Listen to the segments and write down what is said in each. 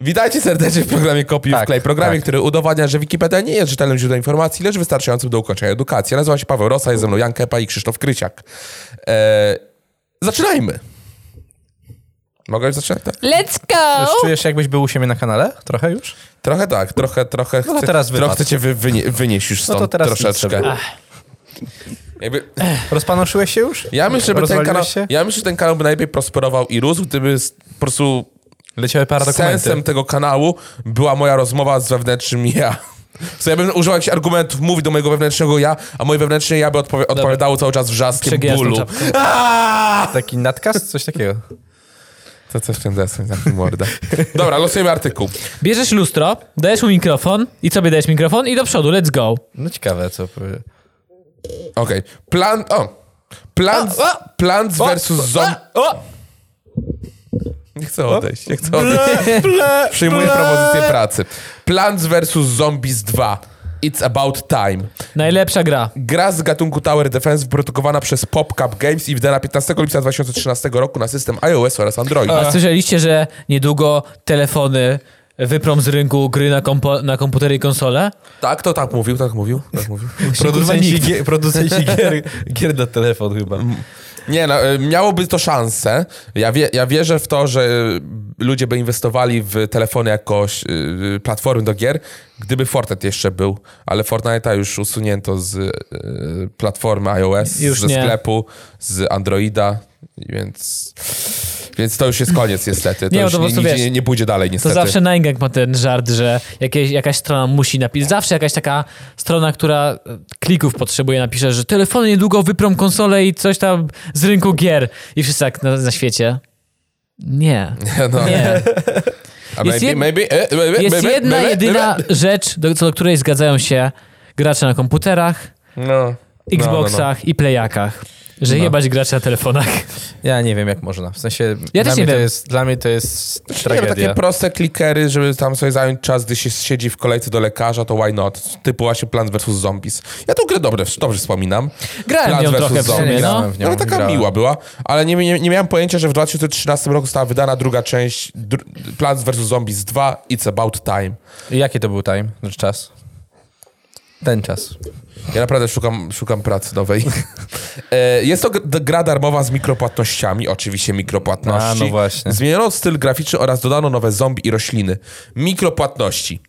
Witajcie serdecznie w programie Kopiuj Tak, w Klej. Programie, tak. który udowadnia, że Wikipedia nie jest rzetelnym źródłem informacji, lecz wystarczającym do ukończenia edukacji. Ja nazywam się Paweł Rosa, jest ze mną Jan Kepa i Krzysztof Kryciak. Eee, zaczynajmy. Mogę już zaczynać? Tak? Let's go! Już czujesz się, jakbyś był u siebie na kanale? Trochę już? Trochę tak, trochę, trochę. No to teraz wypadł. trochę chcę cię wy, wynie, wynieść już No stąd to teraz nic troszeczkę. sobie. Jakby, Rozpanoszyłeś się już? ja myślę, że ten Rozwaliłeś kanał, się? ja myślę, że ten kanał by najlepiej prosperował i rósł, gdyby s- po prostu Leciały paradokumenty. sensem tego kanału była moja rozmowa z wewnętrznym ja. Co ja bym używał jakichś argumentów, mówi do mojego wewnętrznego ja, a moje wewnętrzne ja by odpowi- odpowiadało cały czas wrzaskiem Przegniazdą bólu. czapkę. Aaaa! Taki nadkast? Coś takiego. To coś w tym deseń, taki morda. Dobra, losujemy artykuł. Bierzesz lustro, dajesz mu mikrofon i sobie dajesz mikrofon i do przodu, let's go. No ciekawe, co powie. Okej. Plan... O! Plants, plants versus zombie... O! Nie chcę odejść, nie chcę odejść. Przyjmuję propozycję pracy. Plants vs. Zombies 2. It's about time. Najlepsza gra. Gra z gatunku Tower Defense wyprodukowana przez PopCap Games i wydana 15 lipca 2013 roku na system iOS oraz Android. A słyszeliście, że niedługo telefony wyprą z rynku gry na, kompo- na komputery i konsole? Tak, to tak mówił, tak mówił, tak mówił. Producenci, Mm. gier, producenci gier, gier na telefon chyba. Nie no, y, miałoby to szansę. Ja, wie, ja wierzę w to, że y, ludzie by inwestowali w telefony jakoś, y, y, platformy do gier, gdyby Fortnite jeszcze był. Ale Fortnite'a już usunięto z y, platformy iOS, Już ze nie. sklepu, z Androida, więc... Więc to już jest koniec niestety. To Nie, no już to po prostu nigdzie wiesz, nie, nie pójdzie dalej To niestety. zawsze Nine ma ten żart, że jakieś, jakaś strona musi napisać. Zawsze jakaś taka strona, która e, klików potrzebuje, napisze, że telefony niedługo wyprą konsole i coś tam z rynku gier. I wszyscy tak na, na świecie. Nie. No. Nie. A Jest jed- maybe, e, e, e, Jest maybe, jedna, maybe, jedyna maybe. rzecz, do, co do której zgadzają się gracze na komputerach, No. Xboxach i Playakach. Że jebać gracze na telefonach. Ja nie wiem, jak można. W sensie, dla, Ja też mnie nie To wiem. jest, dla mnie to jest Nie, no, tragedia. takie proste klikery, żeby tam sobie zająć czas, gdy się siedzi w kolejce do lekarza, to why not? Typu właśnie Plants vs. Zombies. Ja tą grę dobrze, dobrze wspominam. Grałem Plants nią vs. trochę w sumie, Zombies. no. Grałem w nią, No, taka grałem. miła była, ale nie, nie, nie miałem pojęcia, że w 2013 roku została wydana druga część dr Plants vs. Zombies 2 It's About Time. Jaki to był time? Znaczy czas? Ten czas. Ja naprawdę szukam, szukam pracy nowej. E, Jest to g- d- gra darmowa z mikropłatnościami, oczywiście mikropłatności. A, no właśnie. Zmieniono styl graficzny oraz dodano nowe zombie i rośliny. Mikropłatności.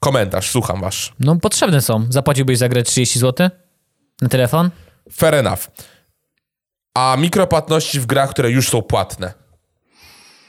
Komentarz, słucham wasz. No potrzebne są. Zapłaciłbyś za grę 30 zł? Na telefon? Fair enough. A mikropłatności w grach, które już są płatne.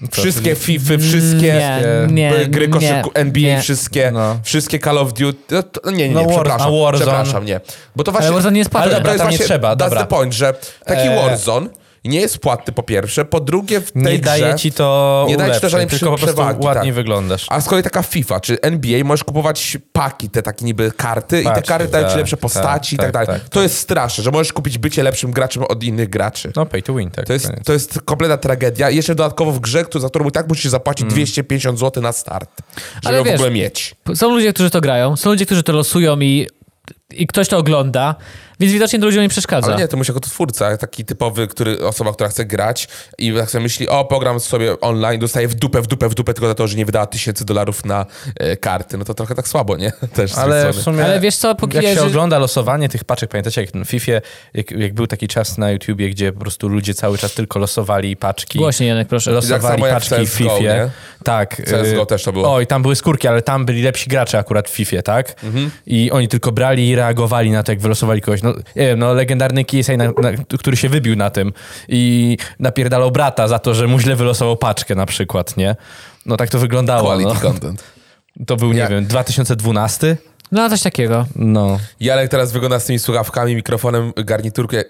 No Wszystkie FIFA, Y, wszystkie nie, e, nie, gry nie, koszyku NBA, nie. wszystkie, No. wszystkie Call of Duty. No, to, nie, nie, No, nie, War- przepraszam. a Warzone? Przepraszam, nie. Bo to właśnie. Warzone nie jest płatne. Ale to Dobra, jest tam nie właśnie, trzeba, that's dobra. the point, że taki Eee. Warzone nie jest płatny po pierwsze, po drugie w tej Nie grze, daje ci to nie daje ci to ulepszeń, żadnej tylko po prostu przewagi, ładnie tak. wyglądasz. A z kolei taka FIFA czy NBA możesz kupować paki, te takie niby karty i te Paczki, karty dają ci tak, lepsze tak, postaci i tak tak, dalej. tak, to jest straszne, że możesz kupić bycie lepszym graczem od innych graczy. No pay to win, tak. To jest, to jest kompletna tragedia. Jeszcze dodatkowo w grze, któ- za którą i tak musisz zapłacić Mm. 250 zł na start, żeby Ale ją w wiesz- ogóle mieć. Są ludzie, którzy to grają, są ludzie, którzy to losują i, i ktoś to ogląda, więc widocznie to ludziom nie przeszkadza. Ale nie, to musi jako to twórca, taki typowy, który, osoba, która chce grać i tak sobie myśli, o, program sobie online, dostaje w dupę, w dupę, w dupę tylko za to, że nie wydała tysięcy dolarów na e, karty. No to trochę tak słabo, nie? Też z Ale ale w sumie... Ale wiesz co, póki jak ja- się że- ogląda losowanie tych paczek, pamiętacie jak w FIFA, jak, jak był taki czas na YouTubie, gdzie po prostu ludzie cały czas tylko losowali paczki. Głośniej, Janek, proszę. Losowali tak samo jak w paczki w CS:GO, FIFA. nie? Tak. CS:GO y, też to było. Oj, tam były skórki, ale tam byli lepsi gracze akurat w FIFA, tak? Mhm. I oni tylko brali i reagowali na to, jak wylosowali kogoś. No, nie wiem, no legendarny KSI, na, na, który się wybił na tym i napierdalał brata za to, że mu źle wylosował paczkę na przykład, nie? No tak to wyglądało. No. Quality content. To był, nie Ja- wiem, 2012? No, coś takiego. No. Jarek teraz wygląda z tymi słuchawkami, mikrofonem, garniturką, e,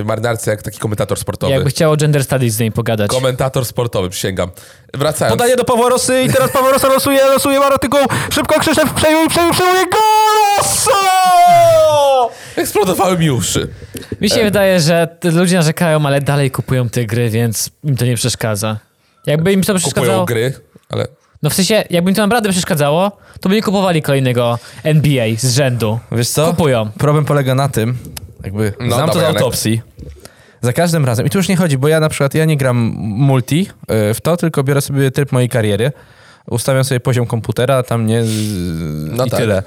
e, marynarce jak taki komentator sportowy. Jakby chciało gender studies z nim pogadać. Komentator sportowy, przysięgam. Wracając. Podaję do Paworosy i teraz Paworosa losuje, losuje artykuł. Szybko Krzysztof przejmuje, przejmuje, przejmuje. Goloso! Eksplodowały mi uszy. Mi się wydaje, że t- ludzie narzekają, ale dalej kupują te gry, więc im to nie przeszkadza. Jakby im to Kupują przeszkadzało. gry, ale... No w sensie, jakby im to naprawdę przeszkadzało, to by nie kupowali kolejnego NBA z rzędu. Wiesz co? Kupują. Problem polega na tym, jakby No, znam to z dawaj, autopsji. Za każdym razem, i tu już nie chodzi, bo ja na przykład, ja nie gram multi y, w to, tylko biorę sobie tryb mojej kariery ustawiam sobie poziom komputera, tam nie z- No i tak. tyle.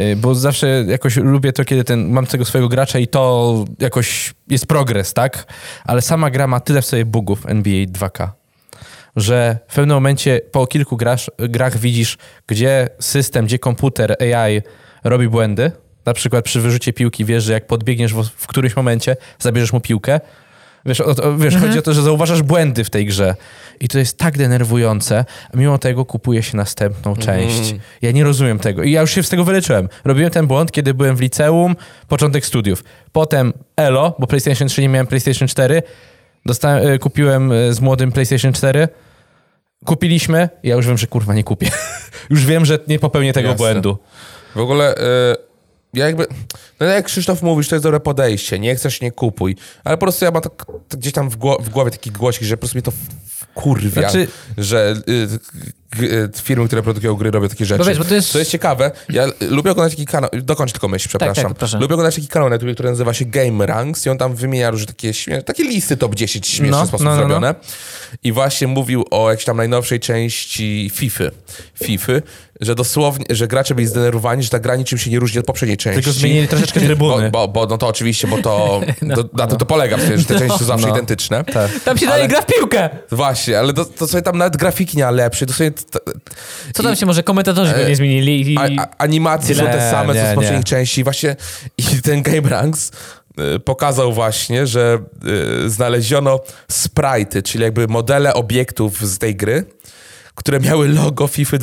Y, Bo zawsze jakoś lubię to, kiedy ten, mam tego swojego gracza i to jakoś jest progres, tak? Ale sama gra ma tyle w sobie bugów NBA 2K, że w pewnym momencie po kilku grasz, grach widzisz, gdzie system, gdzie komputer AI robi błędy. Na przykład przy wyrzucie piłki wiesz, że jak podbiegniesz w, w którymś momencie, zabierzesz mu piłkę. Wiesz, o, to- wiesz chodzi o to, że zauważasz błędy w tej grze. I to jest tak denerwujące. a Mimo tego kupuje się następną część. Ja nie rozumiem tego. I ja już się z tego wyleczyłem. Robiłem ten błąd, kiedy byłem w liceum, początek studiów. Potem Elo, bo PlayStation 3 nie miałem PlayStation 4. Dostałem, y, kupiłem y, z młodym PlayStation 4. Kupiliśmy, ja już wiem, że kurwa nie kupię. już wiem, że nie popełnię tego Jasne. błędu. W ogóle y, ja jakby. No jak Krzysztof mówisz, to jest dobre podejście. Nie chcesz, nie kupuj. Ale po prostu ja mam tak, tak gdzieś tam w, gło- w głowie taki głosik, że po prostu mnie to w- wkurwia, Znaczy- że y, g- y, firmy, które produkują gry, robią takie rzeczy. No wiesz, bo to jest- Co jest ciekawe, ja y, lubię oglądać taki kanał, dokończ tylko myśl, przepraszam. tak, proszę. lubię oglądać taki kanał na YouTube, który nazywa się Game Ranks i on tam wymienia różne takie, śmie- takie listy top 10 śmieszny No, sposób no, no, no. zrobione. I właśnie mówił o jakiejś tam najnowszej części FIFA. FIFA, że dosłownie, że gracze byli zdenerwowani, że ta gra niczym się nie różni od poprzedniej części. Tylko zmienili troszeczkę trybuny. No, Bo, bo, bo no to oczywiście, bo to, to na to to polega, w sensie, że te części są zawsze identyczne. Tak. Tam się dalej gra w piłkę! Właśnie, ale to, to sobie tam nawet grafiki nie ma lepsze, to sobie... t- Co tam się może komentatorzy by nie zmienili? I... E, a, a, animacje są Tyle. te same co Nie, z nie. poprzednich części. Właśnie i ten Game Ranks y, pokazał właśnie, że y, znaleziono sprite'y, czyli jakby modele obiektów z tej gry, które miały logo FIFA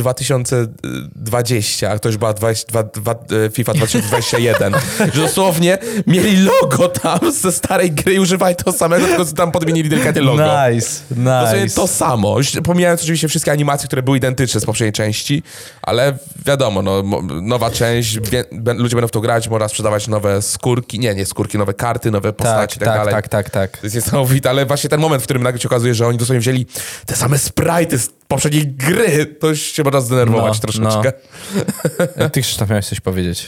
2020, a to już była 22, dwa- y, FIFA 2021. że dosłownie mieli logo tam ze starej gry i używali to samego, tylko tam podmienili delikatnie logo. Nice, Dosłownie nice. to samo. Już pomijając oczywiście wszystkie animacje, które były identyczne z poprzedniej części, ale wiadomo, no, mo- nowa część, bie- bę- ludzie będą w to grać, można sprzedawać nowe skórki, nie, nie skórki, nowe karty, nowe tak, postacie i tak, tak, dalej. tak, tak, tak. To jest niesamowite, ale właśnie ten moment, w którym nagle się okazuje, że oni dosłownie wzięli te same sprite'y z poprzedniej gry, to już się można zdenerwować No, troszeczkę. E, Ty, Krzysztof, miałeś coś powiedzieć.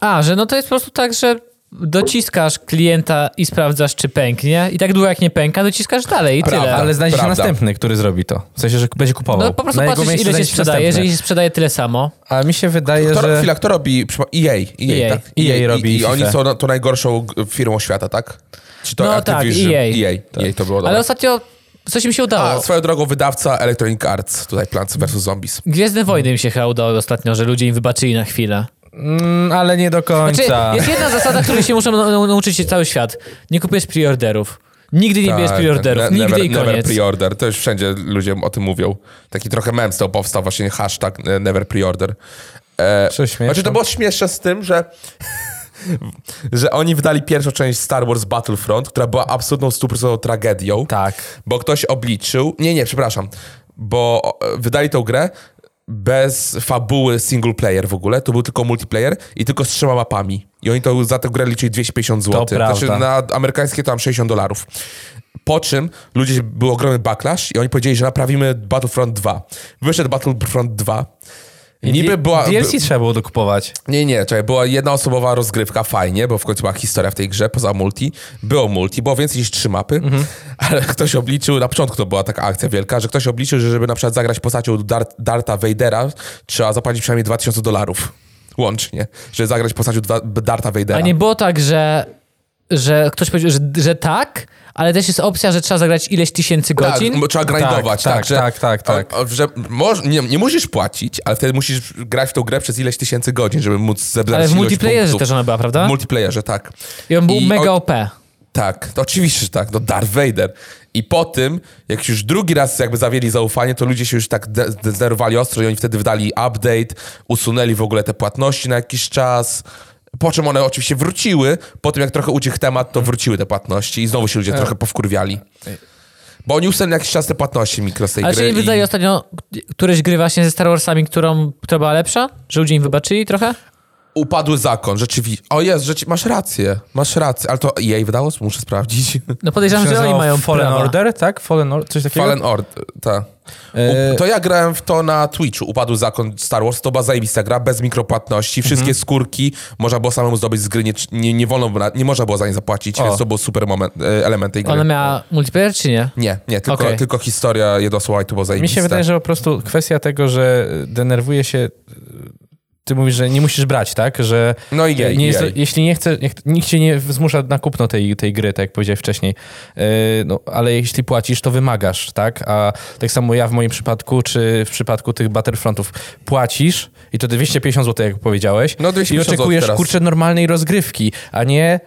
A, że no to jest po prostu tak, że dociskasz klienta i sprawdzasz, czy pęknie. I tak długo jak nie pęka, dociskasz dalej i Prawda. tyle. Ale znajdzie się prawda. następny, który zrobi to. W sensie, że będzie kupował. No po prostu Na jego patrzysz, miejscu ile się znajdzie sprzedaje. następny. Jeżeli się sprzedaje tyle samo, A mi się wydaje, Kto, że... E Chwila, kto robi? przypo- EA. EA, EA. tak? EA robi I, i oni FIFA. są na- tą najgorszą g- firmą świata, tak? Czy to No tak, Activision? E EA. EA. EA to było tak. dobre. ale ostatnio coś im się A, udało. swoją drogą wydawca Electronic Arts, tutaj Plants vs. Zombies. Gwiezdne Wojny im się chyba udało ostatnio, że ludzie im wybaczyli na chwilę. Mm, ale nie do końca. Znaczy, jest jedna zasada, której się muszą nau- nauczyć się cały świat. Nie kupujesz preorderów. Nigdy nie Tak, bierz tak. preorderów. Ne- Nigdy never, i Never koniec. preorder, to już wszędzie ludzie o tym mówią. Taki trochę mem z tego powstał, właśnie hashtag e, never preorder. E, Co śmieszne? znaczy to było śmieszne z tym, że że oni wydali pierwszą część Star Wars Battlefront, która była absolutną 100% tragedią. Tak. Bo ktoś obliczył. Nie, nie, przepraszam. Bo e, wydali tą grę bez fabuły single player w ogóle. To był tylko multiplayer i tylko z trzema mapami. I oni to za tę grę liczyli 250 zł. Znaczy na prawda. amerykańskie tam 60 dolarów. Po czym ludzie był ogromny backlash i oni powiedzieli, że naprawimy Battlefront 2. Wyszedł Battlefront 2. Niby była. DLC trzeba było dokupować. Nie, nie, czekaj, była jednoosobowa rozgrywka, fajnie, bo w końcu była historia w tej grze, poza multi. Było multi, było więcej niż trzy mapy, ale ktoś obliczył, na początku to była taka akcja wielka, że ktoś obliczył, że żeby na przykład zagrać postacią Dar- Darta Vadera, trzeba zapłacić przynajmniej 2000 dolarów. Łącznie, żeby zagrać postacią Dwa- Darta Vadera. A nie było tak, że, że ktoś powiedział, że, że tak, ale też jest opcja, że trzeba zagrać ileś tysięcy tak, godzin. m- trzeba grindować, tak, tak, że, tak, tak, tak. a- a- że moż, nie, nie musisz płacić, ale wtedy musisz grać w tą grę przez ileś tysięcy godzin, żeby móc zebrać ale w ilość multiplayerze punktów. też ona była, prawda? W multiplayerze, tak. I on był I mega o- OP. Tak, to oczywiście, że tak, no Darth Vader. I po tym, jak już drugi raz jakby zawieli zaufanie, to ludzie się już tak de- de- zdenerwowali ostro i oni wtedy wydali update, usunęli w ogóle te płatności na jakiś czas, po czym one oczywiście wróciły, po tym jak trochę ucichł temat, to wróciły te płatności i znowu się E. ludzie trochę powkurwiali. Bo oni usunęli na jakiś czas te płatności mikro z tej Ale gry. czy nie wydaje i... ostatnio któryś gry właśnie ze Star Warsami, którą, która była lepsza? Że ludzie im wybaczyli trochę? Upadły zakon, rzeczywiście. O jest, rzeczy... masz rację, masz rację. Ale to jej wydało? Muszę sprawdzić. No podejrzewam, że oni mają Fallen prawa. Order, tak? Fallen Order, coś takiego? Fallen Ord, tak. E, To ja grałem w to na Twitchu, Upadł Zakon Star Wars, to była zajebista gra, bez Mhm. mikropłatności, wszystkie skórki, można było samemu zdobyć z gry, nie, nie, nie wolno, było na- nie można było za nie zapłacić, O. więc to był super moment, e, element tej gry. Ona miała multiplayer czy nie? Nie, nie, tylko, Okej. tylko historia Jedosława i to było Mi zajebiste. się wydaje, że po prostu kwestia tego, że denerwuje się... Ty mówisz, że nie musisz brać, tak? Że No i jej, nie nie jest, jeśli nie chce, niech- nikt cię nie zmusza na kupno tej, tej gry, tak jak powiedziałeś wcześniej, Yy, no, ale jeśli płacisz, to wymagasz, tak? A tak samo ja w moim przypadku, czy w przypadku tych Battlefrontów, płacisz i to 250 zł, jak powiedziałeś, No, i 250 zł oczekujesz, teraz. kurczę, normalnej rozgrywki, a nie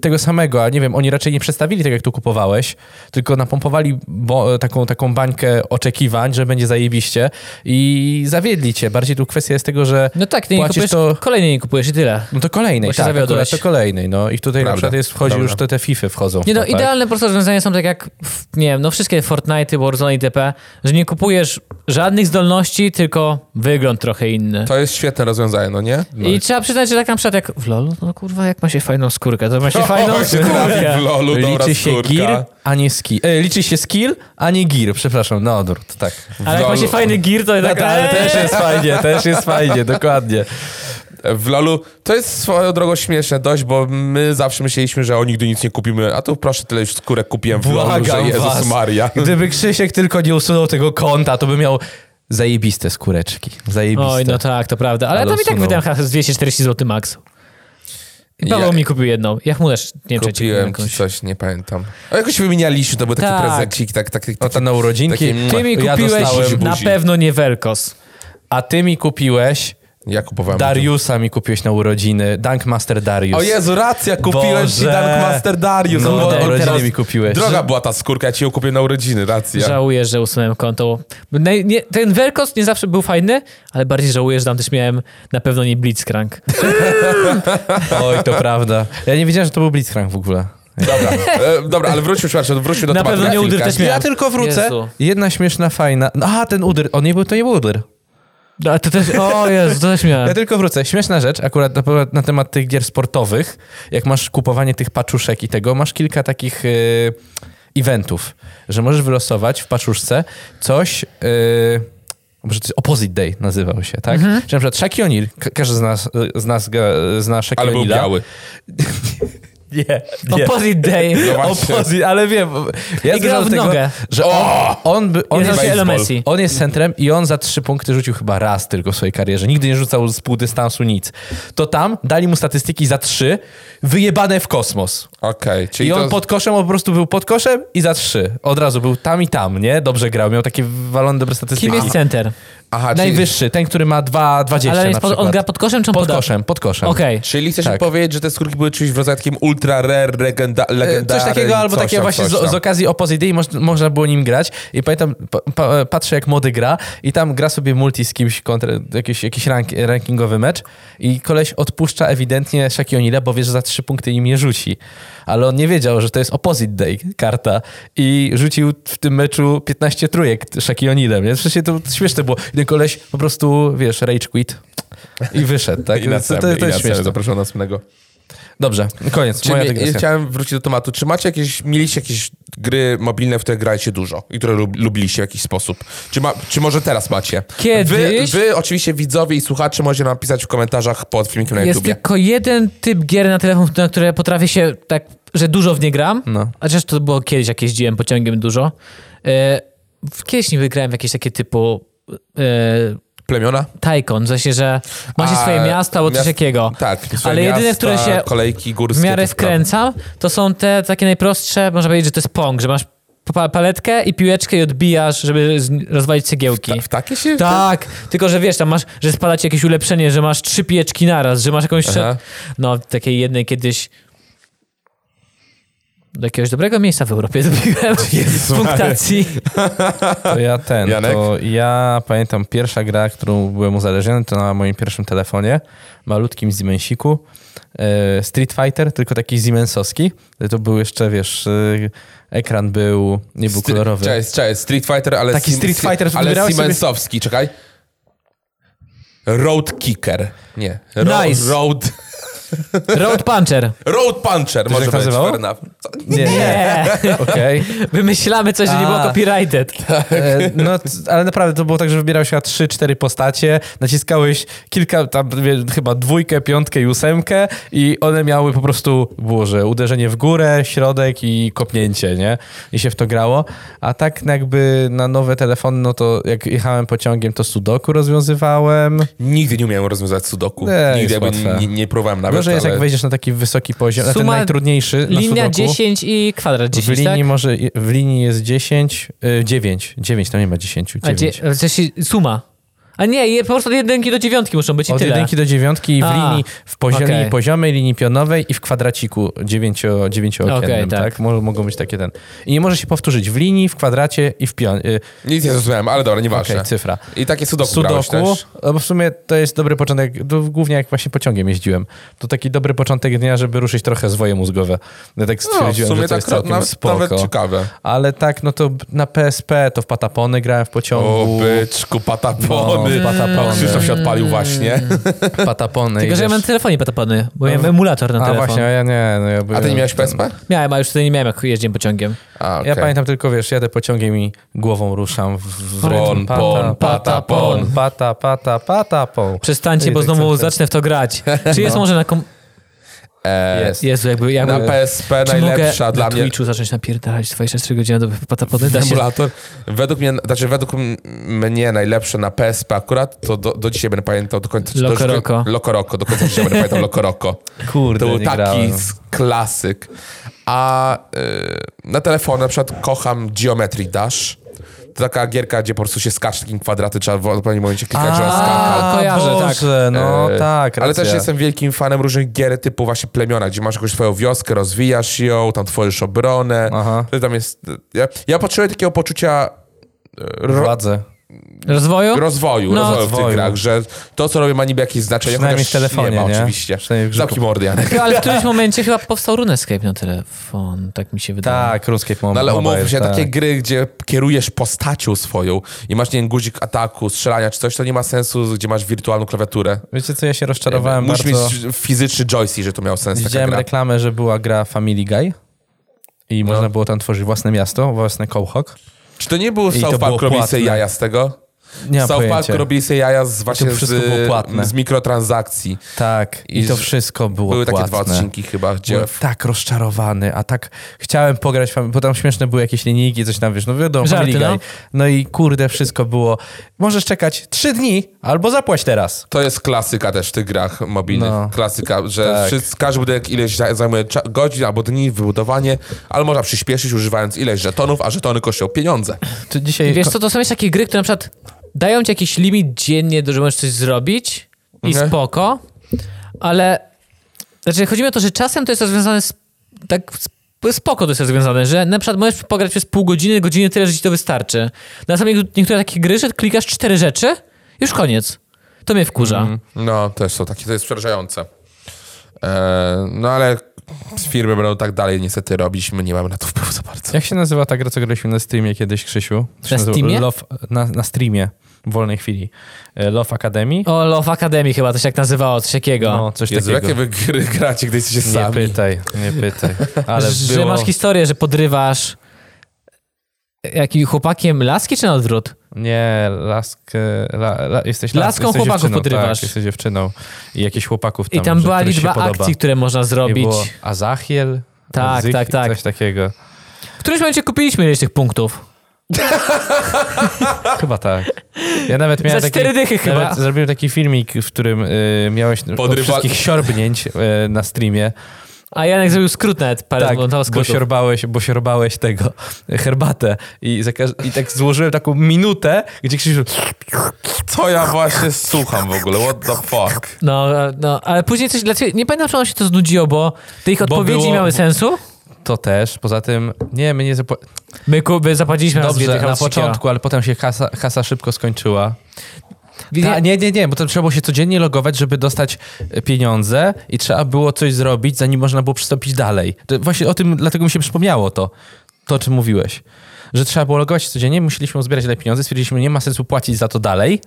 tego samego, a nie wiem, oni raczej nie przedstawili tak, jak tu kupowałeś, tylko napompowali bo, taką, taką bańkę oczekiwań, że będzie zajebiście i zawiedli cię. Bardziej tu kwestia jest tego, że No tak, ty nie Płacisz kupujesz, to- kolejny nie kupujesz i tyle. no to kolejnej, Bo się tak, zawiodłeś. akurat to kolejnej, no i tutaj na Prawda, przykład jest, wchodzi prawda. już te, te Fify wchodzą. w Nie no, to, tak? idealne po prostu rozwiązania są tak jak, w- nie wiem, no wszystkie Fortnite, Warzone itp., że nie kupujesz żadnych zdolności, tylko wygląd trochę inny. Tak, To jest świetne rozwiązanie, no nie? No. I trzeba przyznać, że tak na przykład jak w LoL, no kurwa, jak ma się fajną skórkę, to ma się fajną No. O, się trafi skórkę. w lolu, dobra Liczy się skórka. gear, a nie skill. E, liczy się skill, a nie gear, przepraszam, no odwrót, tak. Ale jak ma się LoLu. fajny gear, to No, tak... to- ale też jest fajnie, też jest fajnie, dokładnie. W LoLu to jest swoją drogą śmieszne dość, bo my zawsze myśleliśmy, że o nigdy nic nie kupimy, a tu proszę tyle już skórek kupiłem w LoLu, że Błagam Jezus was. Maria. Gdyby Krzysiek tylko nie usunął tego konta, to by miał zajebiste skóreczki, zajebiste. Oj, no tak, to prawda. Ale, Ale no. tam i tak usunął. wydałem chyba z 240 zł max. Paweł Ja- mi kupił jedną. Ja mu też nie wiem, czy ja ci kupiłem Kupiłem ci jakąś. coś, nie pamiętam. A jakoś wymienialiśmy, to był taki Tak. prezencik, tak, tak, tak, O, to na urodzinki. Takie- Ty mi Ja kupiłeś dostałem na buzi. pewno nie Velkos. A ty mi kupiłeś, Ja kupowałem. Dariusa mi kupiłeś na urodziny, Dunkmaster Darius. O Jezu, racja, kupiłem ci Boże. Dark Master Darius. No, bo- na bo urodziny teraz- mi kupiłeś. Droga była ta skórka, ja ci ją kupię na urodziny, racja. Żałuję, że usunąłem konto. Naj- nie, ten Velkos nie zawsze był fajny, ale bardziej żałuję, że tam też miałem na pewno nie Blitzcrank. Oj, to prawda. Ja nie wiedziałem, że to był Blitzcrank w ogóle. Dobra, e, dobra, ale wróćmy, przepraszam, wróćmy do Na tematu. pewno nie na chwilkę. udyr też miałem. Ja tylko wrócę. Jezu. Jedna śmieszna, fajna. No, Aha, ten udyr. On nie był, to nie był udyr. No, ale to też, o Jezu, to też miałem. Ja tylko wrócę. Śmieszna rzecz, akurat na, na temat tych gier sportowych, jak masz kupowanie tych paczuszek i tego, masz kilka takich y, eventów, że możesz wylosować w paczuszce coś. Y, może to jest Opposite Day nazywał się, tak? Że na przykład Shaquille O'Neal, ka- każdy z nas, z nas ga- zna Shaquille Ale był O'Neala. biały. Nie, nie. Opposite Day. No właśnie. Opposite, ale wiem. Ja I zgadzam grał w tego, nogę. że on, on, by- on On jest się Elo baseball. Messi. on jest centrem i on za trzy punkty rzucił chyba raz tylko w swojej karierze. Nigdy nie rzucał z pół dystansu nic. To tam dali mu statystyki za trzy, wyjebane w kosmos. Okej, czyli I on to... pod koszem, on po prostu był pod koszem i za trzy. Od razu był tam i tam, nie? Dobrze grał, miał takie walone dobre statystyki. Kim jest center? Aha, czyli, Najwyższy, ten, który ma dwa- 2,20 Ale na jest pod, przykład. on gra pod koszem czy on pod poda? koszem, pod koszem. Okej. czyli chcesz mi Tak. powiedzieć, że te skórki były czymś w rodzaju takim ultra rare, legenda, E, legendarne. Coś takiego, albo coś takie tam, właśnie coś z, tam. z okazji Opposite Day moż- można było nim grać i pamiętam, pa, pa, patrzę jak młody gra i tam gra sobie multi z kimś, kontra, jakiś, jakiś rank, rankingowy mecz i koleś odpuszcza ewidentnie Shakionila, bo wie, że za trzy punkty im nie rzuci. Ale on nie wiedział, że to jest Opposite Day karta i rzucił w tym meczu 15 trójek Shakionilem, nie? Przecież to śmieszne było. I ten koleś po prostu, wiesz, rage quit i wyszedł, tak? I na to, cebie, to, to i jest na cebie. śmieszne. Zapraszam na następnego. Dobrze, koniec, Czy moja mie- dygresja. chciałem wrócić do tematu. Czy macie jakieś, mieliście jakieś gry mobilne, w które graliście dużo i które lub, lubiliście w jakiś sposób? Czy, ma, czy może teraz macie? Wy, Kiedyś- wy, oczywiście widzowie i słuchacze, możecie nam pisać w komentarzach pod filmikiem na Jest YouTubie. tylko jeden typ gier na telefon, na które potrafię się tak, że dużo w nie gram. No. A chociaż to było kiedyś, jak jeździłem pociągiem dużo. E, w- kiedyś niby grałem w jakieś takie typu e, Plemiona? Tycoon, w sensie, że ma się A, swoje miasta albo coś miast- takiego. Tak. swoje Ale jedyne, miasta, które się Kolejki górskie. W miarę te sprawy. wkręcam, to są te takie najprostsze, można powiedzieć, że to jest pong, że masz pa- paletkę i piłeczkę i odbijasz, żeby z- rozwalić cegiełki. Ta, w takie się... Tak, tylko że wiesz, tam masz, że spada ci jakieś ulepszenie, że masz trzy pieczki naraz, że masz jakąś... Aha. No, takiej jednej kiedyś do jakiegoś dobrego miejsca w Europie dobiłem w punktacji. To ja ten, Janek? to ja pamiętam pierwsza gra, którą byłem uzależniony, to na moim pierwszym telefonie, malutkim Siemensiku, e, Street Fighter, tylko taki Siemensowski, to był jeszcze, wiesz, e, ekran był, nie był Stre- kolorowy. Cześć, cześć. Street Fighter, ale... Taki Street Fighter, Ale wybierałeś sobie- Siemensowski, czekaj. Road Kicker. Nie. Ro- Nice. Road, Road Puncher. road Puncher może tak być. nazywało? fair enough. Co? Nie, Okej. Wymyślamy coś, że nie było A. copyrighted. E, No, t- ale naprawdę to było tak, że wybierałeś chyba trzy, cztery postacie, naciskałeś kilka, tam wie- chyba dwójkę, piątkę i ósemkę i one miały po prostu, było, że uderzenie w górę, środek i kopnięcie, nie? I się w to grało. A tak jakby na nowe telefony, no to jak jechałem pociągiem, to sudoku rozwiązywałem. Nigdy nie umiałem rozwiązać sudoku. Nie, jest Nigdy jakby łatwe. nie, nie próbowałem nawet. Gorzej jest, ale... jak wejdziesz na taki wysoki poziom, na ten Suma- najtrudniejszy, na Linia sudoku. 10 i kwadrat w 10, linii tak? może, w linii jest 10, y, 9, 9, tam nie ma 10, 9. A dzie- w sensie suma. A nie, je, po prostu od jedynki do dziewiątki muszą być i Od tyle. jedynki do dziewiątki w A, linii, w poziomie, okej. poziomej, linii pionowej i w kwadraciku dziewięcio, dziewięciookiennym, Okej, tak? tak. Mo- Mogą być takie ten. I nie może się powtórzyć w linii, w kwadracie i w pionie. Y, Nic nie zrozumiałem, ale dobra, nieważne. Okej, cyfra. I takie sudoku, brałeś Sudoku, też. no bo w sumie to jest dobry początek, to głównie jak właśnie pociągiem jeździłem, to taki dobry początek dnia, żeby ruszyć trochę zwoje mózgowe. Ja tak No, w stwierdziłem, sumie że to tak jest całkiem nawet, spoko. nawet ciekawe. Ale tak, no to na PSP, to w Patapony grałem w O, pociągu. byczku, patapony. No, patapony. Krzysztof się odpalił właśnie. Patapony. Tylko, i że ja wiesz- mam na telefonie patapony, bo A ja w- mam emulator na No. A telefon. właśnie, a ja nie. No ja A ty nie byłem- miałeś PSP? Miałem, a już wtedy nie miałem, jak jeździłem pociągiem. A, Ja okej. pamiętam tylko, wiesz, jadę pociągiem i głową ruszam w, w Pon, rytm. pon, pata, pon. Pata, pata, pata, pon. Przestańcie, I bo tak znowu cały czas. zacznę w to grać. Czy No. jest może na kom... E, Jest. Jezu, jakby... jakby... Na PSP Czy najlepsza mogę dla na mnie. Twitchu zacząć napierdalać 24 godziny do patapony? Da się... Emulator. Według mnie, znaczy według m- mnie najlepsze na PSP akurat, to do, do dzisiaj będę pamiętał do końca. czy Loco do, Roco. Loco Roco, do końca dzisiaj będę pamiętał Loco Roco. Kurde, To był nie taki grałem. s- klasyk. A y, na telefonie na przykład kocham Geometry Dash. To taka gierka, gdzie po prostu się skacze takim kwadraty, trzeba w odpowiednim momencie klikać, że on skakał. A, Kojarzę, tak. Boże, no E, tak, Ale racja. też jestem wielkim fanem różnych gier typu właśnie plemiona, gdzie masz jakąś swoją wioskę, rozwijasz ją, tam tworzysz obronę. Aha. To Tam jest, ja, ja potrzebuję takiego poczucia e, ro, Władzę. Rozwoju? rozwoju, No. rozwoju w tych Rozwoju. grach, że to, co robię, ma niby jakieś znaczenie. Przynajmniej chociaż w telefonie, nie? Ma, nie? Oczywiście. Przynajmniej w Zamknij mordy, Janek. Ale w którymś momencie chyba powstał RuneScape na telefon, tak mi się wydaje. Tak, ruskie No ale umówmy się, tak. takie gry, gdzie kierujesz postacią swoją i masz, nie wiem, guzik ataku, strzelania czy coś, to nie ma sensu, gdzie masz wirtualną klawiaturę. Wiecie co, ja się rozczarowałem Musisz bardzo. mieć fizyczny joystick, że to miał sens. taka Widziałem gra. reklamę, że była gra Family Guy i No. można było tam tworzyć własne miasto, własny kołchok. Czy to nie był to South było Park robi sobie płatne. jaja z tego? Nie mam South Park pojęcia. robili sobie jaja z, właśnie wszystko było płatne. z, z mikrotransakcji. Tak, i, I to z- wszystko było Były takie płatne. dwa odcinki chyba, gdzie... Byłem tak rozczarowany, a tak chciałem pograć, fam- bo tam śmieszne były jakieś linijki, coś tam, wiesz, no wiadomo, Żarty, Family no. Guy. No i kurde, wszystko było, możesz czekać trzy dni albo zapłać teraz. To jest klasyka też w tych grach mobilnych. No. Klasyka, że Tak. wszyscy, każdy budynek ileś za- zajmuje cza- godzin albo dni wybudowanie, ale można przyspieszyć używając ileś żetonów, a żetony kosztują pieniądze. To dzisiaj Wiesz co, to są jeszcze takie gry, które na przykład dają ci jakiś limit dziennie, do- że możesz coś zrobić i Mhm. spoko, ale znaczy chodzi mi o to, że czasem to jest rozwiązane z, tak sp- spoko to jest rozwiązane, że na przykład możesz pograć przez pół godziny, godziny tyle, że ci to wystarczy. No Na są niektó- niektóre takie gry, że klikasz cztery rzeczy, już koniec. To mnie wkurza. Mhm. No, też są takie, to jest przerażające. E, no ale firmy będą tak dalej niestety robić, my nie mamy na to wpływu za bardzo. Jak się nazywa ta gra, co graliśmy na Steamie kiedyś, Krzysiu? To się Na nazywa- Steamie? Love, na, na streamie, w wolnej chwili. E, Love Academy? O, Love Academy chyba to się tak nazywało, coś takiego. No, coś Jezu, jakie takiego. wy gry gracie, gdy jesteście Nie sami? pytaj, nie pytaj. Ale że było... masz historię, że podrywasz e, jakim chłopakiem laski czy na odwrót? Nie, laskę, la, la, jesteś las- Laską jesteś chłopaków dziewczyną, podrywasz. Tak, jesteś dziewczyną i jakichś chłopaków tam. I tam że- była któryś się liczba podoba. akcji, które można I zrobić. było Azachiel? Tak, Azyk- tak, tak. Coś takiego. W którymś momencie kupiliśmy ileś tych punktów. Chyba tak. Ja nawet miałem Za taki, cztery dychy chyba. Nawet zrobiłem taki filmik, w którym y, miałeś Podrywa- Podrywa... wszystkich siorbnięć y, na streamie. A Janek zrobił skrót nawet, parę Tak, zmontował bo skrótów. siorbałeś, bo siorbałeś tego, y, herbatę. I, za każ- I tak złożyłem taką minutę, gdzie Krzysiu... Co ja właśnie słucham w ogóle? What the fuck? No, e, no, ale później coś dla ciebie, nie pamiętam, czy nam się to znudziło, bo te ich odpowiedzi było- nie miały sensu. To też, poza tym... Nie, my nie zapła- My Kuby zapłaciliśmy raz dwie Dobrze, dychy na od Sikiera. początku, ale potem się kasa, kasa szybko skończyła. Wie- Ta, nie, nie, nie, bo to trzeba było się codziennie logować, żeby dostać e, pieniądze i trzeba było coś zrobić, zanim można było przystąpić dalej. To właśnie o tym, dlatego mi się przypomniało to, to o czym mówiłeś. Że trzeba było logować się codziennie, musieliśmy uzbierać dalej pieniądze, stwierdziliśmy, nie ma sensu płacić za to dalej.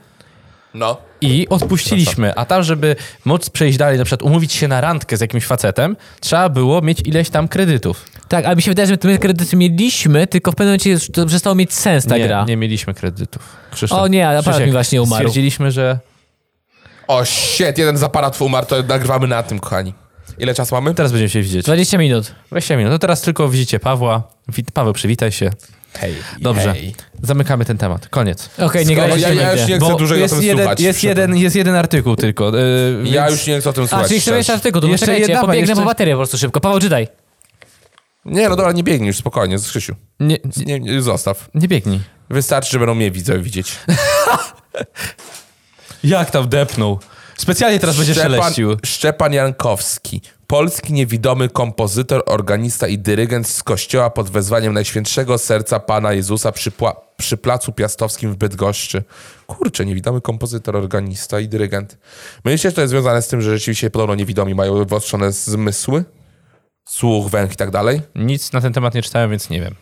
No. I odpuściliśmy. A tam, żeby móc przejść dalej, na przykład umówić się na randkę z jakimś facetem, trzeba było mieć ileś tam kredytów. Tak, ale mi się wydaje, że my te kredyty mieliśmy, tylko w pewnym momencie to przestało mieć sens ta nie, gra. nie mieliśmy kredytów. Krzysztof. O nie, ale Krzysiek, aparat mi właśnie umarł. Stwierdziliśmy, że O shit, jeden z aparatów umarł, to nagrywamy na tym, kochani. Ile czasu mamy? teraz będziemy się widzieć. 20 minut. 20 minut. No teraz tylko widzicie Pawła. Wit- Paweł, przywitaj się. Hej. Dobrze. Zamykamy ten temat. Koniec. Okej, nie Skoro grajcie ja- ja w już nie... nie- chcę Bo dłużej o jest tym jeden, słuchać. jest, jeden, jest jeden artykuł tylko. Yy, Ja więc- już nie chcę o tym A, słuchać. czyli chcemy jeszcze szczerze. artykuł, to Jeszcze poczekajcie, jedna, ja pobiegnę jeszcze- po baterię po prostu szybko. Paweł, czytaj. Nie, no dobra, nie biegnij już, spokojnie, z Krzysiu. Nie, Nie, nie, zostaw. nie biegnij. Wystarczy, że będą mnie widzę widzieć. Jak tam depnął? Specjalnie teraz będzie szeleścił. Szczepan Jankowski. Polski niewidomy kompozytor, organista i dyrygent z kościoła pod wezwaniem Najświętszego Serca Pana Jezusa przy, pła- przy Placu Piastowskim w Bydgoszczy. Kurczę, niewidomy kompozytor, organista i dyrygent. Myślicie, że to jest związane z tym, że rzeczywiście podobno niewidomi mają wyostrzone zmysły? Słuch, węch i tak dalej? Nic na ten temat nie czytałem, więc nie wiem.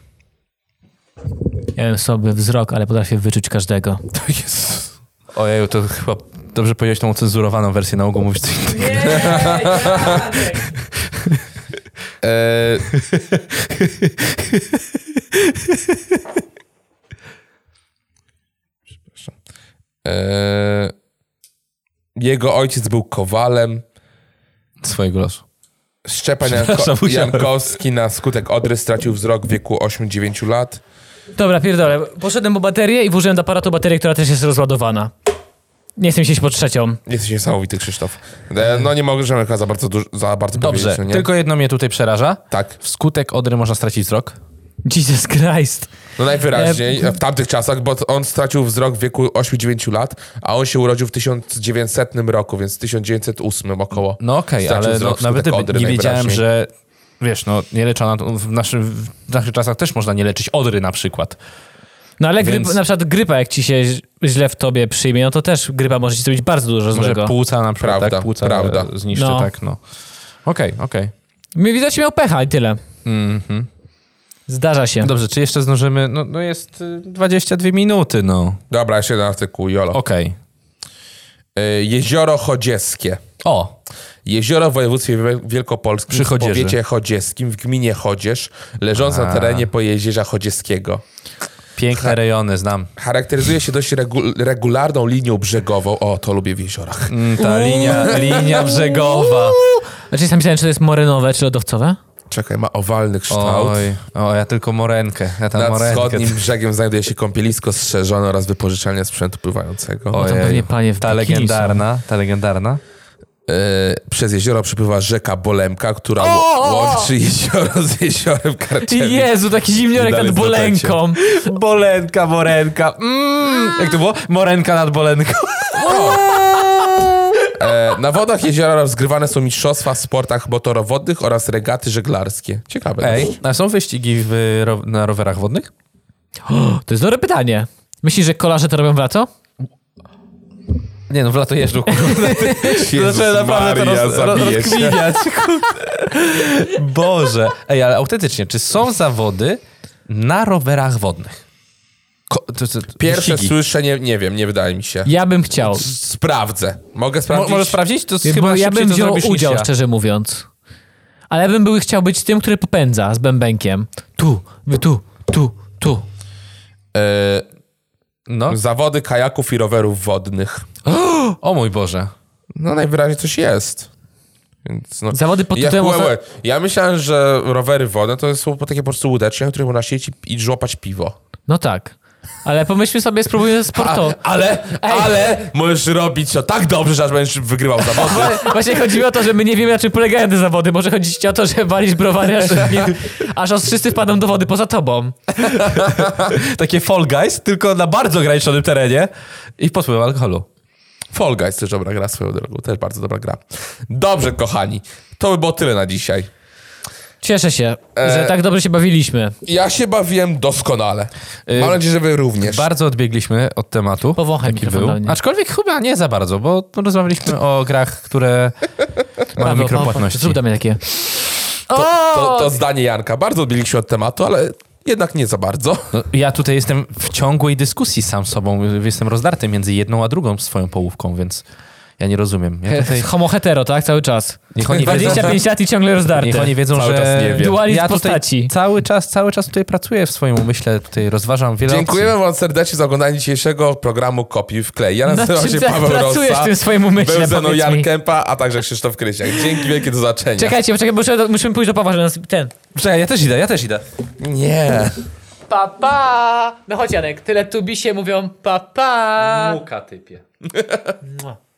Ja mam słaby wzrok, ale potrafię wyczuć każdego. To jest... Ojeju, to chyba dobrze powiedziałeś tą ucenzurowaną wersję na ogół mówić. coś innego. Eee, Przepraszam. Eee, Jego ojciec był kowalem. Swojego losu. Szczepan Przepraszam, Janko- musiałem. Jankowski na skutek odry stracił wzrok w wieku 8-9 lat. Dobra, pierdolę. Poszedłem po baterię i włożyłem do aparatu baterię, która też jest rozładowana. Nie chcę iść po trzecią. Jesteś niesamowity, Krzysztof. E, No nie możemy chyba za bardzo, dużo- za bardzo Dobrze, powiedzieć. no nie? tylko jedno mnie tutaj przeraża. Tak. Wskutek odry można stracić wzrok. Jesus Christ. No najwyraźniej E, w tamtych czasach, bo t- on stracił wzrok w wieku 8-9 lat, a on się urodził w 1900 roku, więc 1908 około. No okej, Stracił ale no, wzrok nawet wskutek gdyby odry nie wiedziałem, najwyraźniej. że wiesz, no nie leczona, to w, naszym, w naszych czasach też można nie leczyć odry na przykład. No ale Więc- grypa, na przykład grypa, jak ci się ź- źle w tobie przyjmie, no to też grypa może ci zrobić bardzo dużo Może złego. płuca na przykład, Prawda, tak? Płuca prawda. e, zniszczy, No. tak, no. Okej, okej. Mi widać miał pecha i tyle. Mhm. Zdarza się. Dobrze, czy jeszcze zdążymy? No, no jest y, 22 minuty, no. Dobra, jeszcze jeden artykuł, Jolo. Okej. E, Jezioro Chodzieskie. O, Jezioro w województwie wiel- wielkopolskim Przy w Chodzieży. powiecie chodzieskim w gminie Chodzież, leżące na A. terenie pojezierza chodzieskiego. Tak. piękne rejony, znam. Charakteryzuje się dość regu- regularną linią brzegową. O, to lubię w jeziorach. Mm, Ta linia, linia brzegowa. Znaczy sam myślałem, czy to jest morenowe, czy lodowcowe? Czekaj, ma owalny kształt. Oj, o, ja tylko morenkę. Ja tam Nad morenkę. wschodnim brzegiem znajduje się kąpielisko strzeżone oraz wypożyczalnia sprzętu pływającego. tam Ojej, pewnie panie w ta bikini są. legendarna, ta legendarna. E, przez jezioro przepływa rzeka Bolemka, która O, ło- o, o! łączy jezioro z jeziorem Karczewicz. Jezu, taki I zimniorek dalej nad zwracacie. bolenką. Bolenka, morenka. Mm, jak to było? Morenka nad bolenką. E, na wodach jeziora rozgrywane są mistrzostwa w sportach motorowodnych oraz regaty żeglarskie. Ciekawe. No. Ej, a są wyścigi w, ro, na rowerach wodnych? O, To jest dobre pytanie. Myślisz, że kolarze to robią w lato? Nie no, w lato jeżdżą, kurwa. Jezus znaczy, Maria, zabiję się. rozkminiać. kurde. Boże. Ej, ale autentycznie, czy są zawody na rowerach wodnych? Ko- to- to- Pierwsze wyścigi. słyszę, nie, nie wiem, nie wydaje mi się. Ja bym chciał. Sprawdzę. Mogę Mo- sprawdzić? Możesz sprawdzić? To Bo chyba ja szybciej bym to wziął zrobisz niż udział, ja. szczerze mówiąc. Ale ja bym był, chciał być tym, który popędza z bębenkiem. Tu, wy tu, tu, tu. E, No. zawody kajaków i rowerów wodnych. O mój Boże. No najwyraźniej coś jest. Więc no. Zawody pod ja, tytułem... łe, osa- łe. ja myślałem, że rowery wodne to są po takie po prostu łódeczki, na których można siedzieć i- i żłopać piwo. No tak. Ale pomyślmy sobie, spróbujmy sportowo. ale, ale możesz robić to tak dobrze, że aż będziesz wygrywał zawody. Właśnie chodziło o to, że my nie wiemy, na czym polegają te zawody. Może chodzić o to, że walisz browary, aż, aż os- wszyscy wpadą do wody poza tobą. Takie Fall Guys, tylko na bardzo ograniczonym terenie i pod wpływem alkoholu. Fall Guys też dobra gra swoją drogą, też bardzo dobra gra. Dobrze, kochani, to by było tyle na dzisiaj. Cieszę się, E, że tak dobrze się bawiliśmy. Ja się bawiłem doskonale. Mam Y, nadzieję, że wy również. Bardzo odbiegliśmy od tematu. Powąchaj jaki mikrofon był. do mnie. Aczkolwiek chyba nie za bardzo, bo rozmawialiśmy o grach, które mają no, Paweł, Paweł, mikropłatności. Zrób do mnie takie. To, to zdanie Janka. Bardzo odbiliśmy od tematu, ale Jednak nie za bardzo. No, ja tutaj jestem w ciągłej dyskusji sam z sobą. Jestem rozdarty między jedną a drugą swoją połówką, więc ja nie rozumiem. Ja tutaj, Homo hetero, tak? Cały czas. niech oni wiedzą, że, 25 lat i ciągle rozdarte. niech oni wiedzą, Cały że czas nie wiem. Dualizm ja tutaj postaci. cały czas, cały czas tutaj pracuję w swoim umyśle, tutaj rozważam wiele Dziękujemy wam serdecznie za oglądanie dzisiejszego programu Kopiuj w klej. Ja nazywam czym się ty Paweł Znaczy, tak, pracujesz Rosa, w tym swoim umyśle, był ze mną powiedz Jan mi. Kępa, a także Krzysztof Krysiak. Dzięki wielkie do zobaczenia. Czekajcie, czekaj, muszę, do- musimy pójść do Pawła, żeby nas... Ten. opcji. Czekaj, ja też idę, ja też idę. Nie. Pa, pa! No chodź Janek, tyle tubisie mówią pa, pa! Muka typie. Mua.